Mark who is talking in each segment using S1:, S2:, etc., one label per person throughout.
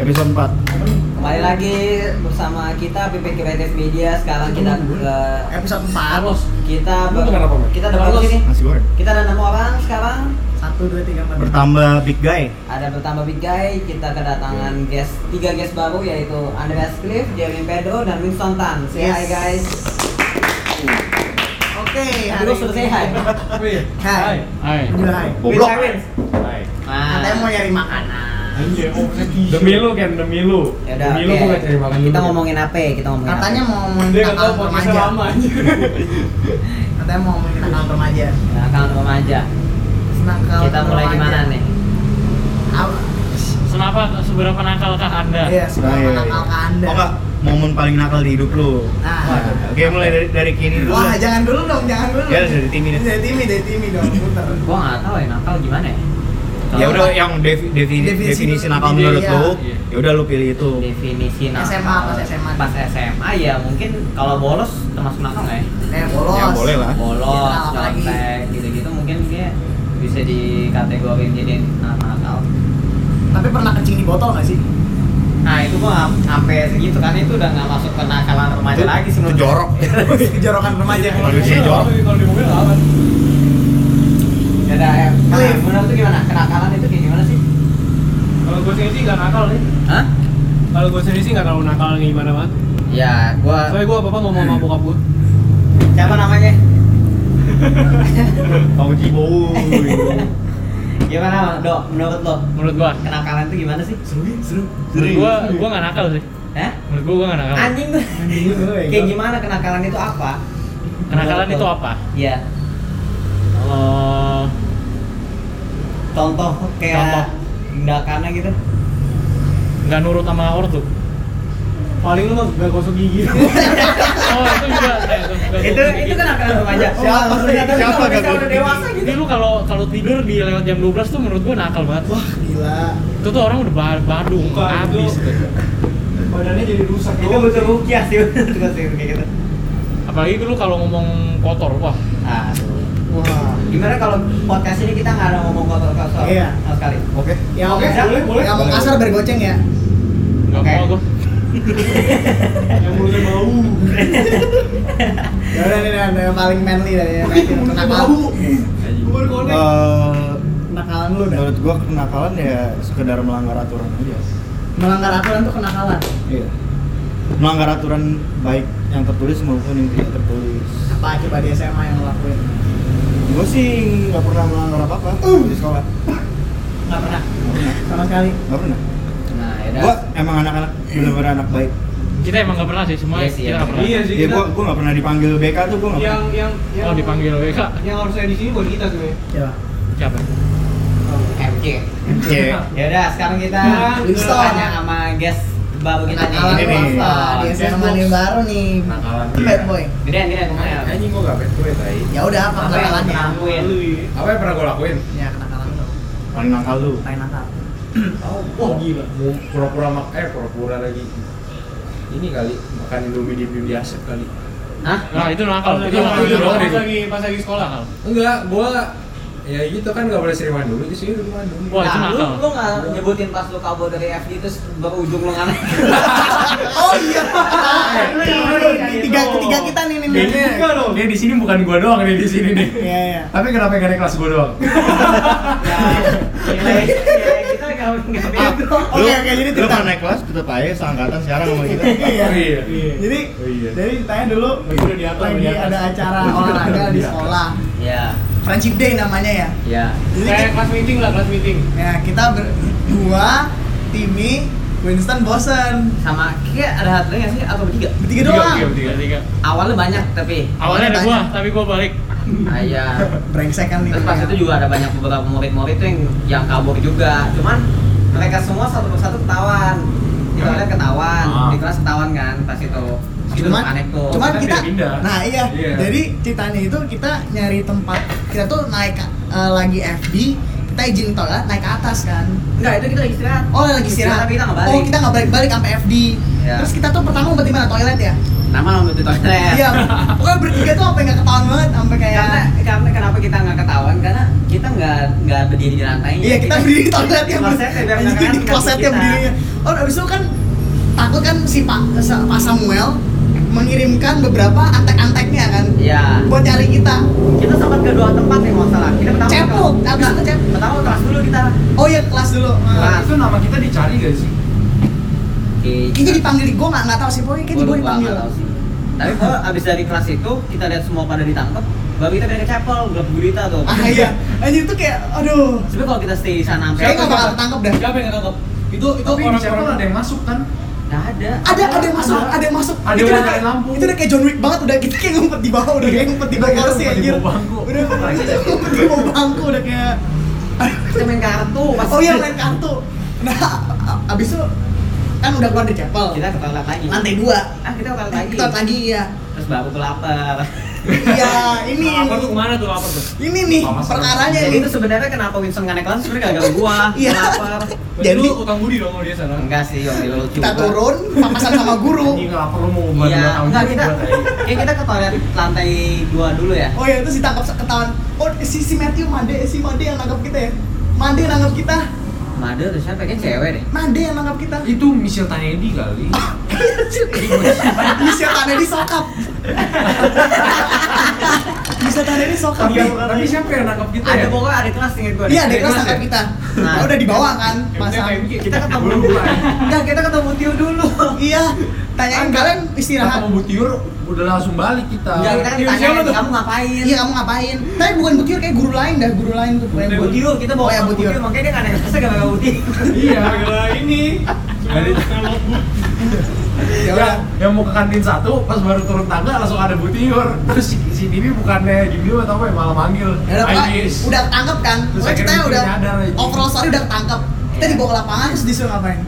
S1: episode 4
S2: Kembali lagi bersama kita PP Creative Media. Sekarang kita eh,
S3: episode 4
S4: Carlos
S2: kita
S4: Lu
S2: ber-
S4: dengar apa, Mbak?
S2: kita ada
S4: Carlos.
S2: berapa sini?
S1: nasi goreng
S2: Kita ada enam orang sekarang.
S3: 1, 2, 3, 4
S1: bertambah big guy
S2: Ada bertambah big guy. Kita kedatangan guest tiga guest baru yaitu Andreas Cliff, Jeremy Pedro, dan Winston Tan. Say hi
S3: Yes.
S2: guys.
S3: Oke,
S2: Tapi lu sudah say hi.
S3: Hai
S4: Hai.
S3: Udah hai
S1: Goblok.
S2: Wins, hi, Wins.
S3: Katanya mau ya-
S2: Nah,
S3: nyari makanan
S5: gitu.
S4: Demi lu Ken, demi lu.
S2: ya udah,
S4: demi lu
S2: oke.
S4: gua gak cari makan dulu.
S2: Kita ngomongin apa ya? Kita ngomongin apa?
S3: Katanya mau ngomongin
S4: dia enggak tahu
S3: akal
S4: podcastnya
S3: remaja
S4: lama anjir.
S3: Katanya mau ngomongin akal remaja
S2: Nah, kalau remaja.
S3: Senang kalau
S2: Kita mulai gimana nih?
S5: Kenapa seberapa nakalkah Anda?
S3: Iya, sudah
S1: Nah, iya, iya.
S3: menakal ke anda
S1: Oh, enggak, momen paling nakal di hidup lu
S3: kan, Nah.
S1: Nah, oke mulai dari dari kini dulu
S3: Wah,
S1: dah.
S3: jangan dulu dong, jangan dulu
S1: Ya, dari tim ini.
S3: Dari tim ini, dari tim ini dong, putar Eh,
S2: Gua nggak tahu ya nakal gimana ya.
S1: ya udah yang defi- defi-
S3: Definisi
S1: definisi
S3: dulu.
S1: nakal
S3: Iya.
S1: menurut lu
S4: Iya.
S1: ya udah lu pilih itu
S2: Iya. definisi nakal.
S3: SMA, pas SMA.
S2: pas SMA ya mungkin kalau bolos termasuk nakal nggak ya
S3: Eh, bolos
S1: ya boleh lah
S2: bolos
S3: Nakal Iya, apalagi.
S2: nyontek gitu-gitu mungkin kayak bisa dikategoriin jadi anak nakal
S3: Tapi pernah kencing di botol nggak sih? Ah,
S2: nah itu gua sampai segitu kan itu udah nggak masuk ke nakalan remaja lagi
S1: itu
S2: sih menurut gua.
S1: jorok Iya,
S3: Jorokan remaja
S1: Manusia
S2: Iya.
S4: Kalau
S1: jorok
S4: di- Kalau di mobil lawan.
S2: ya udah ya
S3: Cliff.
S2: menurut tuh gimana kenakalan itu kayak gimana sih
S4: Kalau gua sendiri sih enggak nakal nih.
S2: Hah?
S4: Kalau gua sendiri sih enggak terlalu nakal nih gimana banget.
S2: ya gua
S4: Soalnya gua apa-apa ngomong sama bokap gua.
S2: siapa namanya
S1: bau jibo
S2: gimana Bang? dok menurut lo
S5: Menurut gua,
S2: kenakalan itu gimana sih
S4: Seru, seru.
S5: menurut gua gua nggak nakal sih.
S2: Hah?
S5: Menurut gua gua nggak nakal.
S2: anjing gua kayak gimana kenakalan itu apa
S5: Kenakalan itu apa?
S2: ya
S5: Eh,
S2: contoh
S5: Contoh.
S2: kayak tindakannya gitu
S5: nggak nurut sama ortu.
S4: Paling lu mah gak gosok gigi.
S5: Oh itu juga. eh, nggak
S2: itu
S5: gosok
S2: itu kan
S5: gigi.
S2: kenakalan remaja
S1: Oh, Siapa? maksudnya, tapi Siapa kalau nggak misalnya udah gosok? dewasa
S2: dewasa
S5: Jadi lu kalau kalau tidur di lewat jam 12 tuh menurut gua nakal banget.
S3: Wah, gila
S5: Itu tuh orang udah ba- badung,
S4: Bukan,
S5: habis.
S4: itu- Badannya jadi rusak.
S2: itu
S1: Oh,
S4: doang.
S2: butuh rukyah sih butuh sih kayak gitu
S5: Apalagi lu kalau ngomong kotor, wah.
S2: aduh
S3: Wah
S2: gimana kalau podcast ini kita nggak ada ngomong kotor kotor
S3: Iya.
S2: sama sekali
S1: oke
S3: Ya
S2: Oke,
S3: oke,
S2: boleh,
S4: boleh.
S3: Yang
S1: Boleh,
S3: kasar
S1: boleh.
S3: bergoceng ya
S5: Nggak
S2: Oke.
S5: mau gua.
S4: Yang mulutnya bau.
S3: Ya udah nih, Dan, yang paling manly ya, dari kenakalan
S4: Gua baru konek.
S1: Eh,
S3: Kenakalan lu dah
S1: menurut gua kenakalan ya sekedar melanggar aturan aja
S3: Melanggar aturan tuh kenakalan
S1: iya melanggar aturan baik yang tertulis maupun yang tidak tertulis
S3: Apa coba di SMA yang lo lakuin?
S1: gue sih nggak pernah melanggar apa apa di sekolah
S3: Gak pernah Sama sekali
S1: nggak pernah
S2: nah ya udah
S1: gue emang anak-anak bener-bener anak baik
S5: Kita emang nggak pernah sih semua.
S2: Iya sih,
S5: kita
S2: iya.
S5: nggak pernah.
S4: Iya sih.
S1: ya gue
S4: kita-
S1: gue nggak pernah dipanggil BK tuh gue nggak
S4: yang
S1: pernah
S4: yang yang
S5: Oh dipanggil WK
S4: yang harusnya di sini buat kita sebenarnya.
S3: Coba
S5: siapa?
S2: MK
S1: Iya.
S2: ya udah sekarang kita
S4: Nah,
S3: install.
S2: tanya sama guest baru kita nih Nah,
S3: Kenakalan
S1: ini
S3: lu
S1: nih.
S3: apa? Di
S4: Yes,
S3: SMA
S4: yes.
S3: nih baru nih
S6: Nakalan
S3: Bad boy
S2: gedean gedean kemana
S6: Anjing gua gak bad boy tai
S3: Ya udah apa
S2: apa yang
S3: kenakalannya?
S2: pernah lakuin
S4: Lu, iya.
S6: Apa yang pernah gua lakuin?
S3: Ya kenakalan lu
S1: paling nakal lu
S3: Paling nakal
S6: Oh,
S4: Wah, gila.
S6: Mau Pura-pura mak eh pura-pura lagi Ini kali, makan Indomie di di asap kali
S2: Hah?
S5: Nah itu nakal.
S4: Pas
S5: Itu
S4: lagi-
S5: nakal.
S6: Itu doang
S5: Pas
S6: deh.
S5: lagi pas lagi sekolah nakal.
S6: Enggak, gua Ya gitu kan gak boleh siriman dulu, di sini siriman dulu
S5: Wah, itu
S2: Nah, lu,
S5: nakal.
S2: lu gak nyebutin pas lu kabur dari FG terus berujung lu nganek
S3: Oh iya
S1: Ah, iya,
S3: Tiga, ketiga kita nih nih nih.
S4: Enggak dong.
S6: Dia di sini bukan gua doang nih di sini nih
S3: Iya iya
S6: Tapi kenapa gak ada kelas gua doang?
S2: Ya, nilai- nilai kita gak gak bego
S3: Oke oke jadi
S1: lu
S3: cerita
S1: pernah naik kelas tetap aja seangkatan sekarang sama kita
S3: Iya
S6: Oh, iya.
S3: Jadi
S6: Oh, iya.
S3: jadi ditanya dulu
S4: Udah di atas, udah
S3: lagi
S4: di atas.
S3: ada acara olahraga di sekolah
S2: ya
S3: Friendship Day namanya ya
S2: ya
S3: Jadi
S4: Kayak
S3: kita-
S4: kelas meeting lah, kelas meeting.
S3: ya kita berdua Timmy Winston bosen
S2: sama kayak ada satu lagi nggak sih atau bertiga
S3: bertiga doang
S5: Tiga, tiga.
S2: awalnya banyak tapi
S5: Awalnya ada
S3: Awalnya
S5: gua,
S3: banyak.
S5: tapi gua balik.
S2: ayah
S3: brengsek kan nih
S2: terus pas itu juga ada banyak beberapa murid-murid tuh yang yang kabur juga cuman mereka semua satu persatu ketahuan di toilet ketahuan
S5: Ah.
S2: di kelas ketahuan kan pas itu itu gitu,
S3: cuman
S2: aneh tuh
S3: cuman
S6: Kan
S3: kita
S6: dia pindah.
S3: nah iya
S6: Iya.
S3: jadi ceritanya itu kita nyari tempat kita tuh naik eh, lagi FB kita izin toilet naik ke atas kan
S2: enggak itu kita lagi istirahat
S3: oh lagi istirahat
S2: tapi kita nggak balik
S3: oh kita nggak balik balik sampai FD
S2: Ya. Ya.
S3: Terus kita tuh pertama ngumpet di mana? Toilet ya?
S2: Nama nomor di toilet.
S3: Iya. Pokoknya bertiga tuh sampai nggak ketahuan banget, sampai kayak
S2: Karena karena kenapa kita nggak ketahuan? Karena kita nggak nggak berdiri di lantai.
S3: Iya kita berdiri di toilet ya.
S2: Klosetnya biar nggak
S3: Di
S2: kena
S3: klosetnya
S2: kaki kita.
S3: berdirinya. Oh abis itu kan takut kan si Pak sa- Pak Samuel mengirimkan beberapa antek-anteknya kan
S2: Iya.
S3: buat nyari kita.
S2: Kita sempat ke dua tempat nih masalah. Kita pertama
S3: Cepuk, abis itu cepuk.
S2: Pertama kelas dulu kita.
S3: Oh iya kelas dulu.
S2: Kelas.
S6: Nah, itu nama kita dicari gak sih?
S3: Kayaknya dipanggil di gue nggak nggak tahu sih pokoknya kayaknya gue
S2: Gua lupa,
S3: dipanggil.
S2: nggak tahu sih. Tapi kalau abis dari kelas itu kita lihat semua pada ditangkap, baru kita pindah ke chapel, gelap gurita tuh.
S3: Ah iya, anjir itu kayak aduh.
S2: Sebenarnya kalau kita stay di sana sampai
S3: Kayaknya nggak bakal ketangkep dah.
S4: Siapa yang ketangkep? Itu itu
S6: Tapi di chapel
S4: orang-orang
S6: ada yang masuk kan?
S2: nggak ada.
S3: Ada ada yang masuk, ada yang masuk.
S6: Ada
S3: Itu
S6: yang
S3: udah-
S6: nyalain lampu.
S3: Itu udah kayak John Wick banget udah kita kayak ngumpet di bawah, udah kayak ngumpet di bawah
S6: Kita
S3: kursi
S6: ngumpet di
S3: anjir.
S6: bawah bangku.
S3: Udah kita ngumpet di bawah bangku udah kayak
S2: Kita main kartu. pas-
S3: Oh iya main kartu. Nah, a- abis itu kan udah keluar dari chapel.
S5: Iya.
S2: Kita ke toilet lagi.
S3: Lantai dua.
S2: Ah kita ke toilet lagi.
S3: Kita tadi ya.
S2: Terus baru aku lapar.
S3: Iya, ini
S5: Apa tuh kemana tuh apa tuh?
S3: ini nih
S6: Mama serem.
S3: perkaranya
S2: Jadi
S3: nih.
S2: itu sebenarnya kenapa Winston nggak naik kelas sebenarnya gara-gara gua.
S3: Iya.
S2: Lapar.
S3: Jadi
S4: Lu utang budi dong sama dia sana.
S2: Enggak sih, Yomi lu
S3: kita turun papasan sama
S6: Anjing
S3: guru.
S6: lapar lu mau ubah
S2: Iya,
S6: dua tahun
S2: enggak
S6: juga
S2: kita.
S6: buat aja.
S2: Kayak kita ke toilet lantai dua dulu ya.
S3: Oh iya itu ditangkap se- ketahuan. Oh si si Matthew Made si Made yang nangkap kita ya. Made yang nangkap kita.
S2: Mada tuh siapa? Kayaknya cewek deh.
S3: Made yang nangkap kita.
S5: Iya.
S6: Itu Michel Tanedi kali.
S3: Bisa Tanedi sokap. Bisa Tanedi sokap.
S5: Iya.
S6: Tapi, tapi siapa yang nangkap kita ya?
S2: Ada pokoknya Iya. ada kelas tinggal gua. deh.
S3: Iya, ada kelas
S6: kelas ya?
S3: nangkap kita.
S2: Nah.
S3: Nah, udah dibawa kan,
S4: Masa
S3: pasang.
S5: gitu?
S6: gitu.
S2: Kita ketemu
S6: Gua lupa.
S2: Enggak, kita ketemu Tio dulu.
S3: Iya, tanyain kalian istirahat.
S6: Sama Butiur udah langsung balik kita. Iya,
S2: Enggak, kita kan
S4: Tio
S2: ditanya,
S4: siapa tuh?
S2: kamu ngapain? "Eh,
S3: Iya kamu ngapain? Tapi bukan Butiur kayak guru lain dah, guru lain tuh. Bukan
S2: Bu Tio, kita bawa
S3: Oh ya
S2: ke
S3: Bu
S2: Bu Tio.
S3: Tio.
S2: Makanya dia nggak naik kelas gara-gara Bu Tio.
S6: Iya.
S4: Gara-gara ini. Kalau
S3: Ya udah.
S6: Yang, yang mau ke kantin satu, pas baru turun tangga langsung ada Butiur. Terus si, si Bibi bukannya diem atau apa ya malah manggil.
S3: Ya udah, Pak,
S6: Ainis.
S3: udah ketangkep kan?
S6: Terus
S3: Pokoknya kita
S6: akhirnya
S3: udah
S6: nyadar aja.
S3: overall story udah ketangkep. Kita
S2: Iya.
S3: dibawa ke lapangan terus disuruh ngapain?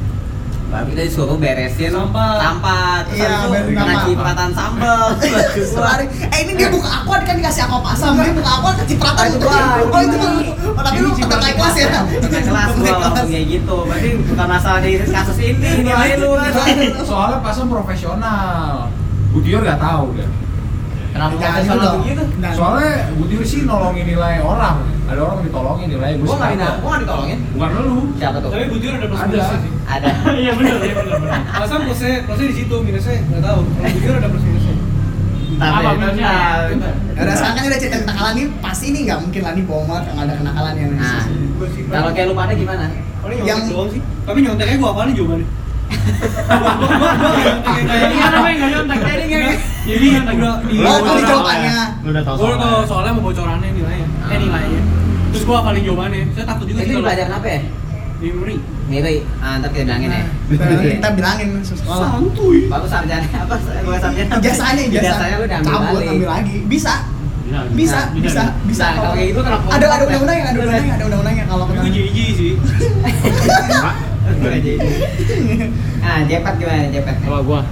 S2: Baru kita disuruh beresin
S4: Sampah.
S2: sampah. Terus
S3: Iya,
S2: habis itu
S3: beresin
S2: kena
S3: sampah.
S2: cipratan sambal. Terus gua-
S3: Sehari. Eh ini dia buka akuan kan dikasih aku pasam, dia buka akuan kecipratan
S2: Aduh,
S3: itu. Oh itu
S2: ini.
S3: oh, tapi lu
S6: Ini
S3: tetap naik kelas ya?
S2: Naik kelas Iya, gua langsung kayak gitu. Berarti bukan masalah di kasus ini, nilai lu. gitu.
S6: Soalnya pasang profesional. Butiur nggak tahu kan.
S2: Kenapa
S3: Jangan
S2: nggak salah
S3: dulu.
S2: begitu?
S3: Nah,
S6: Soalnya Butiur sih nolongin nilai orang. Ada orang ditolongin nilai gue.
S2: Gua nggak minta, gua nggak ditolongin.
S6: Bukan lu.
S2: Siapa tuh?
S4: Tapi butiur ada plus
S6: Ada.
S4: minusnya sih.
S2: Ada.
S5: Iya benar, iya benar benar.
S4: Masa plusnya plusnya di situ minusnya nggak tahu. Kalau butiur ada plus minusnya.
S2: Tapi
S5: Apa minusnya?
S3: Udah sekarang kan udah cerita kenakalan nih, pasti nih nggak mungkin lah nih bohong banget nggak ada kenakalan yang
S2: Nah,
S4: Gua sih.
S2: kalau kayak lu pada gimana?
S4: Paling
S3: Yang-
S4: nyontek doang sih. Tapi nyonteknya gua apaan nih jawabannya? Gua- gua- gua- gua nggak nyontek kayak
S5: Jadi
S4: kayak
S5: kan namanya nggak nyontek.
S4: ya,
S5: Jadi nggak.
S4: Jadi
S5: Iya,
S4: nyontek udah di
S3: Oh, itu
S4: bocoran.
S3: jawabannya.
S1: Lu udah tahu
S4: Gua udah tahu
S1: soalnya.
S4: soalnya mau bocorannya nilainya. Eh nilainya. Terus gua paling jawabannya. Saya takut juga sih
S2: Itu
S4: kalau
S2: pelajaran apa ya?
S4: memory.
S2: Nilai, ah, ntar kita bilangin ya.
S3: Kita, kita bilangin sekolah.
S4: Santuy.
S2: Bagus sarjana apa? Bukan sarjana.
S3: Ijazahnya,
S2: Ijazahnya lu udah ambil
S3: Cabut,
S2: balik.
S3: ambil lagi. Bisa, bisa, bisa, bisa.
S2: Bisa, kalau kayak gitu kenapa?
S3: Ada ada undang-undangnya, ada undang-undangnya, ada undang-undangnya kalau
S4: Tapi
S3: kena.
S4: gua jijik sih.
S2: Nah, Jepet gimana Jepet?
S5: Kalau gua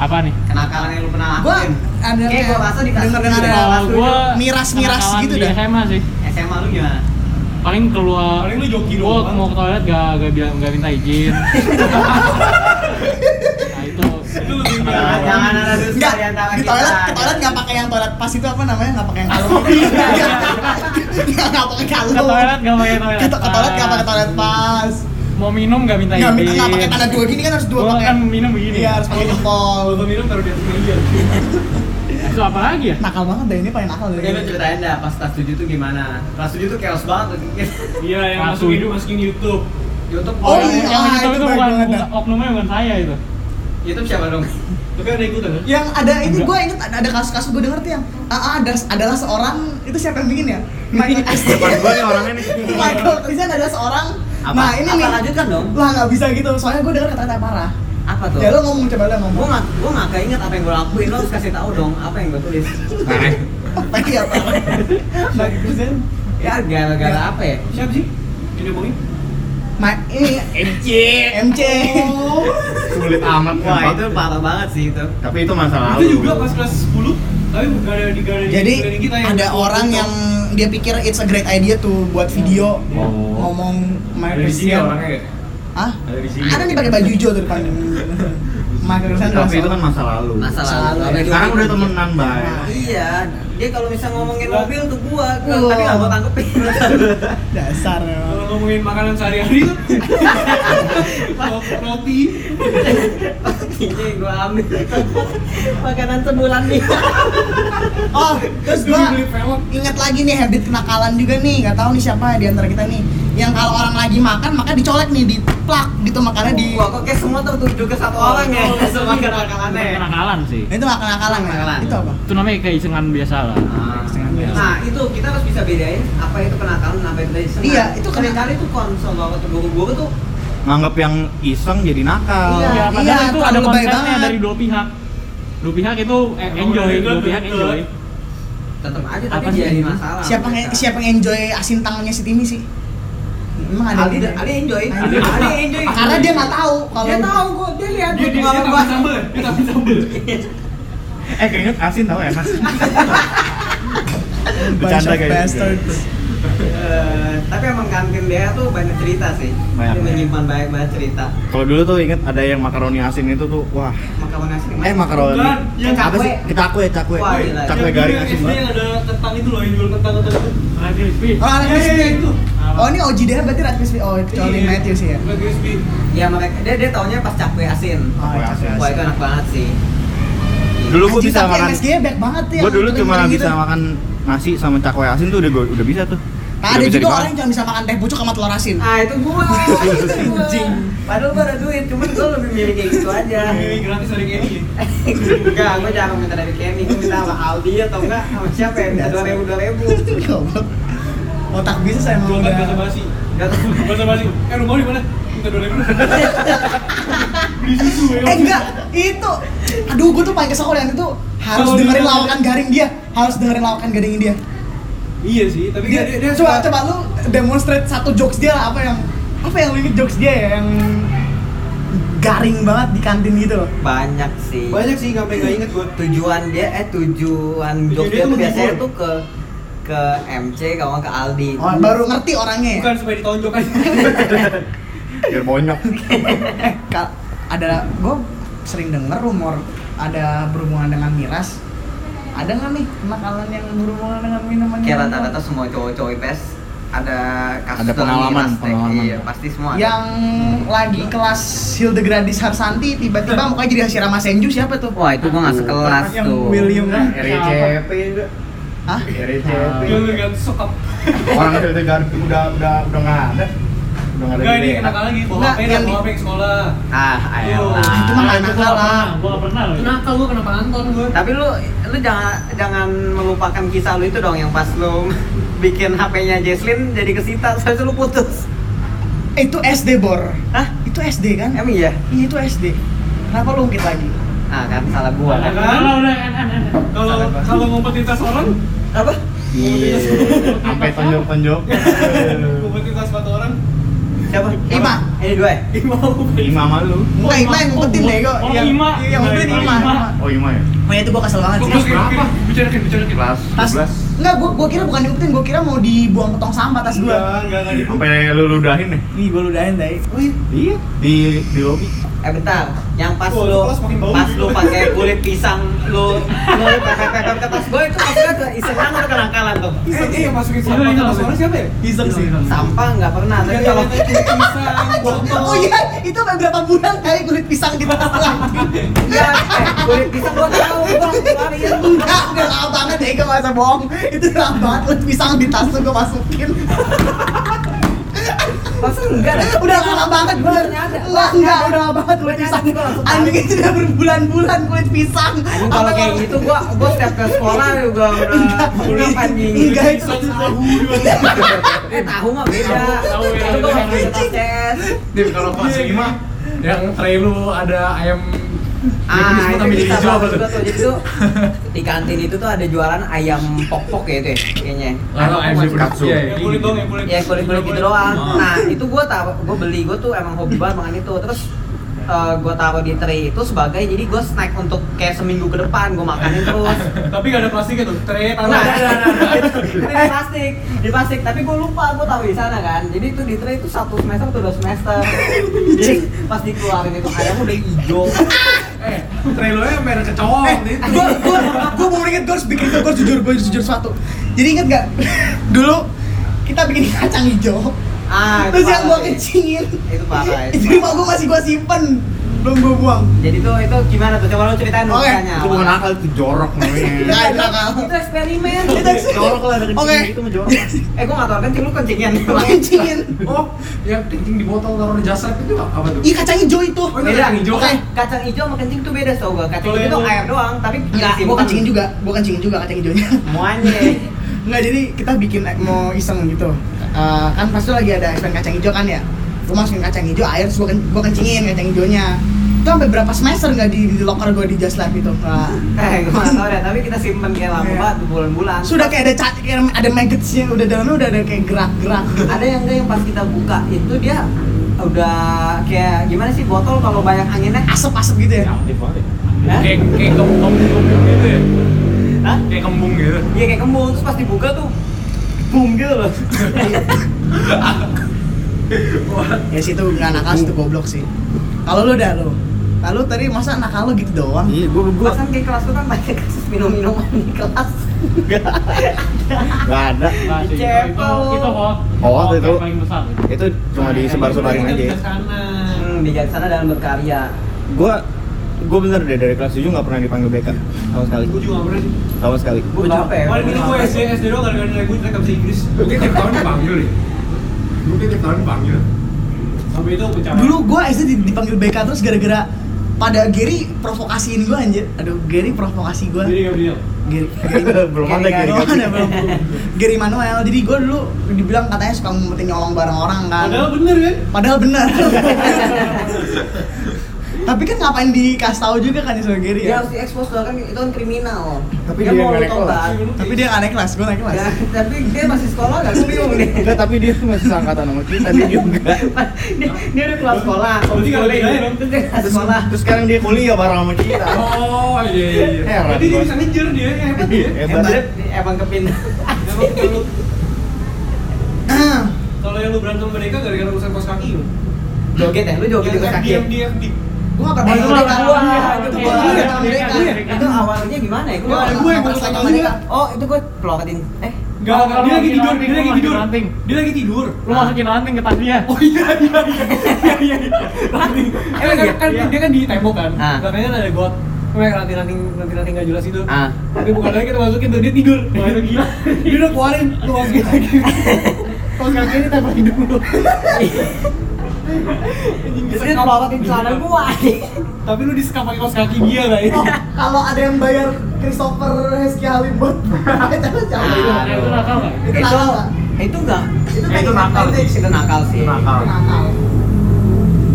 S5: apa nih?
S2: Kenakalan yang lu pernah
S3: Gua
S2: lakuin?
S3: ada
S2: Kayak gua rasa di kelas
S3: denger-dengar
S2: tujuh.
S3: ada
S5: Kalau gua
S3: miras-miras
S5: kenakalan
S3: gitu
S5: di
S3: dah.
S5: SMA sih.
S2: SMA lu gimana?
S5: Paling keluar
S4: Paling lu joki
S5: gua
S4: doang.
S5: mau ke toilet gak gak bilang gak minta izin. nah itu.
S4: Itu lebih
S2: Jangan, jangan ada dusta
S3: Enggak,
S2: di antara
S3: di
S2: kita. ya.
S3: toilet, ke toilet nggak pakai yang toilet pas itu apa namanya nggak pakai yang kalung.
S2: Iya.
S3: Nggak nggak pakai kalung.
S5: Ke toilet gak pakai toilet.
S3: Ke to- ke toilet nggak pakai
S5: pas.
S3: toilet pas.
S5: Mau minum gak minta
S3: Nggak
S5: izin.
S3: nggak pakai tanda dua gini kan harus dua
S5: Nah, Gua
S3: pakai.
S5: kan minum begini.
S3: Iya harus pakai jempol.
S4: Kalau minum taruh di atas meja.
S5: Itu apa lagi ya?
S3: Nakal banget deh ini paling nakal dari.
S2: Oke, lu ceritain dah pas kelas 7 tuh gimana? Kelas 7 tuh chaos banget.
S4: Iya, yang
S5: Satu.
S4: masukin masukin YouTube.
S2: YouTube
S3: Oh,
S5: Yang-
S3: iya,
S5: yang
S3: itu
S5: itu, itu
S3: baik
S5: bukan,
S3: banget,
S5: bukan- oknumnya bukan saya itu.
S2: YouTube siapa dong?
S4: Tapi ada ikutan kan?
S3: yang ada itu
S5: Enggak.
S3: gue inget ada, ada kasus-kasus gue denger tuh yang "Ah, ah, ada adalah seorang itu siapa yang bikin ya Michael
S6: Depan
S3: Christian
S6: gua nih orangnya nih.
S3: Michael Christian ada seorang
S2: Apa?
S3: nah ini
S2: apa
S3: nih
S2: lanjutkan dong?
S3: lah nggak bisa gitu soalnya gue denger kata-kata parah
S2: Apa tuh?
S3: ya lo ngomong coba lo
S2: Gua
S3: ngomong
S2: nggak, gua nggak keinget apa yang gua lakuin. Lo harus kasih tahu dong apa yang gua tulis.
S3: apa ya apa Michael Christian
S2: Ya gara-gara apa ya?
S4: Siapa sih? Ini ngomongin?
S3: Ma- ini
S1: MC.
S3: MC
S1: Sulit amat
S2: Wah itu parah banget sih itu.
S1: Tapi itu masalah
S4: Itu juga pas kelas 10, tapi gak ada di gak ada di
S3: jadi
S4: keliling
S5: gitu
S4: kita ya.
S5: ya.
S4: yang
S3: ada
S4: buat
S3: orang
S4: TikTok.
S3: yang dia pikir it's a great idea tuh buat video
S6: Oh.
S3: ngomong
S6: Dari
S3: Michael
S6: sini
S3: Christian
S6: orangnya.
S3: Hah?
S6: Ada di sini.
S3: Ada nih pakai baju hijau tuh depan. Michael Sanders.
S1: Tapi itu kan masa lalu. Eh,
S2: Masa lalu.
S3: Masa lalu.
S1: Sekarang udah temenan, Bay.
S3: Nah,
S2: Iya, dia kalau bisa ngomongin mobil tuh gua, gua
S3: Wah.
S2: tapi nggak gua tanggepin.
S3: dasar.
S4: Kalau ngomongin makanan sehari-hari tuh roti
S2: Ini gua ambil makanan sebulan nih.
S3: Oh, terus
S4: dulu
S3: gua
S4: beli pelek
S3: ingat lagi nih habit kenakalan juga nih nggak tahu nih siapa di antara kita nih yang kalau orang lagi makan maka dicolek nih diplak gitu makannya di
S4: Oh,
S2: Gua kok kayak semua tertuju ke satu orang ya, semua kenakalannya.
S5: Kenakalan sih.
S3: Nah, itu nggak kenakalan ya?
S2: Kenakalan.
S3: itu apa
S5: Itu namanya keisengan biasa lah.
S2: Nah itu kita harus bisa bedain apa itu kenakalan apa itu sengaja.
S3: Iya, itu kena-
S2: kali tuh konsol bahwa terburu-buru tuh
S1: Nganggap yang iseng jadi nakal.
S3: Iya.
S5: Ya, padahal
S3: Iya,
S5: itu
S3: terlalu
S5: ada
S3: lebay
S5: konsepnya
S3: banget.
S5: dari dua pihak. Dua pihak itu eh, enjoy,
S4: Betul,
S5: dua pihak
S4: betul.
S5: enjoy.
S2: tetap aja tapi
S5: Apa sih
S2: jadi
S5: ini?
S2: masalah.
S3: siapa nge
S2: mereka.
S3: siapa yang enjoy asin tangannya si Timi sih emang ada
S2: Ali, Ali enjoy,
S3: Ali.
S2: Ali, Ali enjoy.
S3: karena dia nggak tahu kalau
S2: dia tahu gua, dia lihat
S4: dia dia
S2: gua
S4: dia
S2: gua.
S4: tambah sambel ya? dia tambah sambel
S1: Eh, kayaknya asin tau enak.
S3: bunch
S1: Bercanda
S3: of
S1: kayak gitu.
S3: bastards.
S2: Eh, tapi emang kantin dia tuh banyak cerita sih.
S1: Banyak.
S2: Dia menyimpan banyak banget cerita.
S1: Kalau dulu tuh inget ada yang makaroni asin itu tuh, wah.
S2: Makaroni asin.
S1: Eh, makaroni.
S4: Bukan, yang
S1: Apa
S2: cakwe.
S1: sih? Cakwe, cakwe.
S2: Wah, gila.
S1: Cakwe
S4: Yang
S1: garing
S4: dulu
S1: asin
S4: SD
S1: banget.
S4: yang ada kentang itu loh yang jual kentang kentang itu
S5: Nah, itu Rizky.
S3: oh Alex
S4: Iya, iya,
S3: Crispy.
S4: itu.
S3: oh ini OG dia berarti Red Crispy oh kecuali
S4: Iya.
S3: Matthew sih ya
S4: Red Crispy.
S2: Ya mereka dia dia taunya pas cakwe asin.
S3: oh
S1: Wah,
S3: cakwe
S2: Wah itu
S3: asin.
S2: enak banget sih.
S1: Dulu gua bisa
S3: tapi
S1: makan.
S3: MSG -nya back banget ya
S1: Gua dulu
S3: kering-kering
S1: cuma
S3: gitu.
S1: bisa makan nasi sama cakwe asin tuh udah gua udah bisa tuh. Udah
S3: Nah, ada
S1: bisa
S3: juga
S1: dimakan.
S3: orang yang cuma bisa makan teh pucuk sama telur asin
S2: Ah itu gua. itu gua.
S3: Anjing.
S2: Padahal gua ada duit, cuman gua lebih milih kayak gitu aja.
S4: Ini Iya, gratis dari Kenny ya?
S3: Eh,
S2: Enggak, gua jarang minta dari Kenny, gua minta sama Aldi atau enggak sama siapa ya? Minta dua ribu dua ribu.
S3: Goblok. ya otak bisnis emang
S4: jualan bahasa
S3: udah
S4: basi bahasa basi eh rumah di mana enggak dua ribu beli susu ya
S3: Eh enggak, itu aduh gue tuh paling kesel kalau yang itu harus
S4: Kalau
S3: dengerin
S4: dia-
S3: lawakan garing dia, harus dengerin lawakan garing dia.
S4: iya sih tapi
S3: Dia, coba coba lu demonstrate satu jokes dia lah, apa yang apa yang lu inget jokes dia ya yang garing banget di kantin gitu loh.
S2: Banyak sih.
S4: banyak sih nggak nggak inget gua
S2: Tujuan dia eh tujuan
S4: Tujuan
S2: jok
S4: dia
S2: dia
S4: tuh
S2: tuh biasanya
S4: menghibur.
S2: tuh ke ke MC kalau nggak ke Aldi.
S3: Oh, baru ngerti orangnya ya.
S4: Hmm. bukan supaya ditonjok aja
S1: Biar bonyok.
S3: Eh, kal- ada gue sering denger rumor ada berhubungan dengan miras. Ada nggak nih makanan yang berhubungan dengan minuman?
S2: Kayak
S3: yang-
S2: rata-rata semua cowok-cowok IPS ada kasus
S1: Ada
S2: dalam
S1: pengalaman,
S2: miras, Teh.
S1: pengalaman.
S2: Iya, pasti semua ada.
S3: yang lagi kelas Hildegradis Harsanti tiba-tiba mukanya jadi Hashirama Senju siapa tuh?
S2: Wah itu gua nggak sekelas
S3: Yang
S2: tuh.
S3: William.
S4: Iya,
S3: iya.
S1: RCP juga.
S3: Hah?
S1: RCP.
S4: dia nggak sokap
S1: Orang itu udah udah udah udah nggak ada. Udah nggak ada. Iya.
S4: Enggak,
S1: di
S4: ini
S1: daerah.
S4: kenakalan lagi. Bawa
S3: Enggak,
S4: HP,
S3: yang
S4: bawa
S3: di-
S4: HP ke sekolah.
S2: Ah, ayolah.
S4: Yo,
S3: itu mah
S5: Nah,
S3: nggak
S5: itu
S3: nakal
S5: gua nggak
S3: lah.
S5: pernah, Gua nggak pernah loh. itu.
S4: Nakal gua kenapa Anton gua?
S2: Tapi lu lu jangan jangan melupakan kisah lu itu dong yang pas lu bikin HP-nya Jesslyn jadi kesita terus lu putus.
S3: Eh, itu SD Bor.
S2: Hah?
S3: Itu SD kan?
S2: Emang iya?
S3: Iya itu SD. Kenapa lu ungkit lagi?
S2: Ah kan salah gua
S5: Nah,
S2: kan.
S5: Kalau udah en en en.
S4: Kalau kalau ngumpetin tas orang,
S2: Apa?
S1: Iya. Sampai tonjok-tonjok.
S4: ngumpetin tas sepatu orang,
S2: Siapa?
S3: Ima.
S2: Ini dua ya?
S4: mau
S1: Ima malu.
S3: Enggak, Ima yang ngumpetin deh kok.
S5: Oh,
S3: Yang-
S5: Ima.
S3: Yang ngumpetin
S5: Ima,
S3: Ima.
S5: Ima.
S1: Oh Ima ya.
S3: Oh ya itu gua kesel banget
S4: Fokus
S3: sih.
S4: ke
S6: berapa?
S4: Bicarakan, bicarakan.
S1: Kelas
S3: Tas,
S1: 12.
S3: enggak, gua, gua kira bukan diumpetin, gua kira mau dibuang ke tong sampah tas
S4: Enggak,
S3: gua.
S4: enggak, enggak.
S1: Iya, Sampai lu ludahin nih.
S3: Ih, gua ludahin deh. Wih,
S1: Iya. Di di lobi.
S2: Eh bentar, yang pas
S4: Oh,
S2: lu
S4: kelas makin bau
S2: pas
S4: gitu.
S2: lu pakai kulit pisang lu lu pakai ke tas gua itu maksudnya tuh iseng banget kenakalan tuh.
S4: Eh, eh, yang masukin
S5: Iya,
S4: sepatu
S5: iya,
S4: tas
S5: iya.
S4: orang siapa ya?
S3: iseng sih.
S2: Sampah nggak pernah, tapi
S4: Yang
S2: kalau
S4: ada tulisan, botol.
S3: Oh iya, itu sampai berapa bulan kali kulit pisang di tas lagi.
S2: Iya, eh, kulit pisang gua tahu gua keluarin.
S3: Enggak, udah lama banget deh, gue masa bohong Itu lama banget, lu pisang di tas tuh gue masukin
S2: Masa enggak? ada?
S3: Udah lama banget, bener Enggak, enggak, udah lama banget kulit pisang Anjing itu udah berbulan-bulan kulit pisang
S2: Anjing, kalau kayak gitu gua gua setiap ke sekolah juga udah
S3: Enggak,
S2: udah anjing.
S3: enggak itu
S4: Sos tahu juga.
S2: Eh tahu iya, mah beda.
S5: Tahu, tahu,
S2: Itu gua
S5: tahu.
S2: masih tas CS.
S6: Dim, kalau pas
S4: Iya,
S6: Ima yang tray lu ada ayam
S2: Ah,
S6: Ini
S2: itu
S6: sempat menjadi
S2: kita
S6: hijau apa
S2: bahas
S6: tuh?
S2: juga tuh. Jadi tuh di kantin itu tuh ada jualan ayam pok-pok ya itu ya, kayaknya.
S6: Lalu Ah, ayam
S1: Ayam
S6: di
S1: katsu.
S6: Iya, iya,
S4: Yang kulit dong, yang kulit.
S2: ya kulit kulit gitu
S4: Yang
S2: doang
S6: Oh.
S2: nah itu gue tau gue beli gue tuh emang hobi banget makan itu terus eh, gua taruh di tray itu sebagai jadi gua snack untuk kayak seminggu ke depan gua makanin terus
S4: Tapi gak ada plastiknya
S6: gitu,
S4: tuh, tray taruh.
S2: Nah, itu di plastik, di plastik. Tapi gue lupa, gue tahu di sana kan. Jadi itu di tray itu satu semester atau dua semester. Jadi pas dikeluarin itu ayam udah hijau.
S6: Eh, tray lo yang gitu. merek kecoa
S3: Eh,
S6: waktu itu.
S3: gua, gua, gua mau inget gua harus bikin gua harus jujur, gua harus jujur suatu. Jadi inget gak? Dulu kita bikin kacang hijau.
S2: Ah, itu
S3: Terus yang gua
S2: parah sih.
S3: kecingin.
S2: Itu parah.
S3: Itu
S2: Itu.
S3: rumah gua masih gua simpen. Belum gua buang.
S2: Jadi tuh itu gimana tuh? Coba lu ceritain dulu
S3: Oke,
S2: ceritanya.
S1: Itu bukan akal, itu jorok namanya.
S3: Nah, itu nakal.
S2: Itu eksperimen.
S3: Itu
S1: jorok lah dari
S3: Oke.
S1: itu mah jorok.
S2: Eh, gue nggak tahu kencing lu kencingan.
S3: kecingin.
S6: Oh, ya kencing di botol taruh di jasa itu apa apa tuh?
S3: Iya kacang hijau itu.
S6: Oh, itu yang hijau kan?
S2: Eh, Kacang hijau sama kencing tuh beda tau gue. Kacang
S4: Kalau
S2: hijau
S4: yang
S2: tuh
S4: lu-
S2: air doang, tapi
S3: Enggak, Iya, gua kencingin juga. Gua kencingin juga kacang hijaunya.
S2: Muanye.
S3: Enggak, jadi kita bikin eh, mau iseng gitu. Eh, kan pas itu lagi ada event kacang hijau kan ya. Gua masukin kacang hijau, air terus gua, ken- gua kencingin kacang hijaunya. Itu sampai berapa semester nggak di, di locker gua di Just Lab itu. Nah,
S2: Eh, gue nggak tahu deh. Tapi kita simpen kayak lama
S3: Iya.
S2: banget berbulan-bulan.
S3: sudah kayak ada cat, kayak ada maggotsnya, udah dalamnya udah ada kayak gerak-gerak.
S2: ada yang enggak yang pas kita buka itu dia udah kayak gimana sih botol kalau banyak anginnya
S3: Asap-asap gitu ya.
S1: Aktif banget ya.
S2: Hah?
S4: Kayak kayak kembung kembung gitu ya.
S2: Hah?
S4: Kayak kembung gitu.
S2: Iya kayak kembung terus pas dibuka tuh boom gitu loh
S3: Ya situ nggak nakal, situ goblok sih. Kalau lu udah lu. Lalu tadi masa nakal lu gitu doang?
S1: Iya, gua gua
S2: Perasaan kayak kelas tuh kan banyak kasus minum-minuman di kelas
S1: enggak ada.
S5: Nah, itu, itu,
S2: Dicepel.
S5: itu hoax.
S1: Hoax
S5: Hoax
S1: Oh, itu.
S5: yang paling besar.
S1: Itu cuma disebar-sebarin aja. ya.
S2: hmm, di sana dalam berkarya
S1: Gua gua bener deh dari kelas 7 nggak pernah dipanggil BK sama sekali.
S4: Gue juga gak pernah sih.
S1: Sama sekali.
S2: gue apa ya
S4: Paling
S2: gua
S4: ini gue
S2: apa ya?
S4: SD
S5: E
S4: SD doang gara-gara nilai gue jelek bisa Inggris.
S6: Mungkin tiap tahun dipanggil nih. Mungkin tiap tahun dipanggil.
S4: Sampai itu pecah.
S3: Dulu gua SD di- dipanggil BK terus gara-gara pada Gary provokasiin gua anjir. Aduh, Gary provokasi gua.
S4: Jadi Gabriel.
S3: Gary,
S1: Belum ada
S3: Gary,
S1: Gary.
S3: Manuel, ya, belum. Gary Manuel. Jadi gue dulu dibilang katanya suka ngumpetin nyolong barang orang kan.
S4: Padahal bener kan?
S3: Padahal benar. Tapi kan ngapain dikasih tahu juga kan sama Gary
S2: dia
S3: ya?
S2: harus diekspos loh kan itu kan kriminal
S1: Tapi dia
S2: mau
S1: nggak naik
S2: tobat
S3: Tapi dia nggak naik kelas, gue naik kelas.
S2: Ya, tapi dia masih sekolah gak? Gue bingung nih
S1: Enggak, tapi dia tuh masih seangkatan sama kita dia juga.
S2: dia, dia udah kelas sekolah
S4: Berarti nggak lebih aja dong.
S2: Terus dia kelas sekolah
S1: Terus sekarang dia kuliah bareng sama kita.
S4: Oh iya iya iya.
S1: Heran
S4: Berarti dia
S1: gua.
S4: bisa ngejar dia, hebat dia.
S1: Hebat.
S2: Emang- emang kepindah
S4: Emang kalau lu- Kalau yang lu berantem mereka gara-gara urusan kos kaki lu.
S2: joget ya lu joget
S4: Yang
S2: di
S4: kan
S2: kaki
S4: dia dia di
S3: Gue nggak pernah
S2: Wah,
S5: Nah, Itu
S3: ikut mereka. Itu gua nggak
S5: malah gua. Iya, iya,
S3: pernah ikut mereka.
S5: iya, iya.
S2: itu awalnya gimana ya? Gue
S3: Ya,
S2: nggak
S3: gue
S2: gue
S3: yang
S2: pernah
S3: pertama
S2: sama
S3: juga.
S2: mereka. Oh itu gue pelototin. Eh
S4: Enggak,
S5: Oh, Kalau
S4: enggak, dia
S5: lu
S4: lagi tidur, dia lagi
S5: lagi ranting, lu lagi
S4: tidur.
S5: ranting.
S4: Dia lagi tidur.
S5: Lu masukin ranting ke tas dia.
S4: Oh iya iya iya iya iya. Ranting. Eh
S1: Ah,
S4: kan, kan
S5: Iya.
S4: dia kan di tembok kan.
S2: Ah.
S4: Belakangnya kan ada got. Kayak ranting-ranting ranting-ranting nggak jelas itu.
S2: ah
S4: Tapi bukan lagi kita masukin tuh dia tidur. Wah itu gila. Dia udah keluarin, lu masukin lagi. Kos kaki ini tempel hidung lu. Anjing,
S2: terus dia
S4: disekap.
S2: pelototin celana gue.
S4: Tapi lu disekap pakai kaos kaki dia lah
S3: Oh, kalau ada yang bayar Christopher Hesky Halim buat itu siapa itu?
S5: Nah, itu nakal nggak?
S3: Itu nakal nggak?
S2: Itu enggak.
S3: Itu
S6: Ya, itu
S3: kayak
S6: nakal.
S2: Itu nakal sih.
S6: Nakal.
S3: nakal.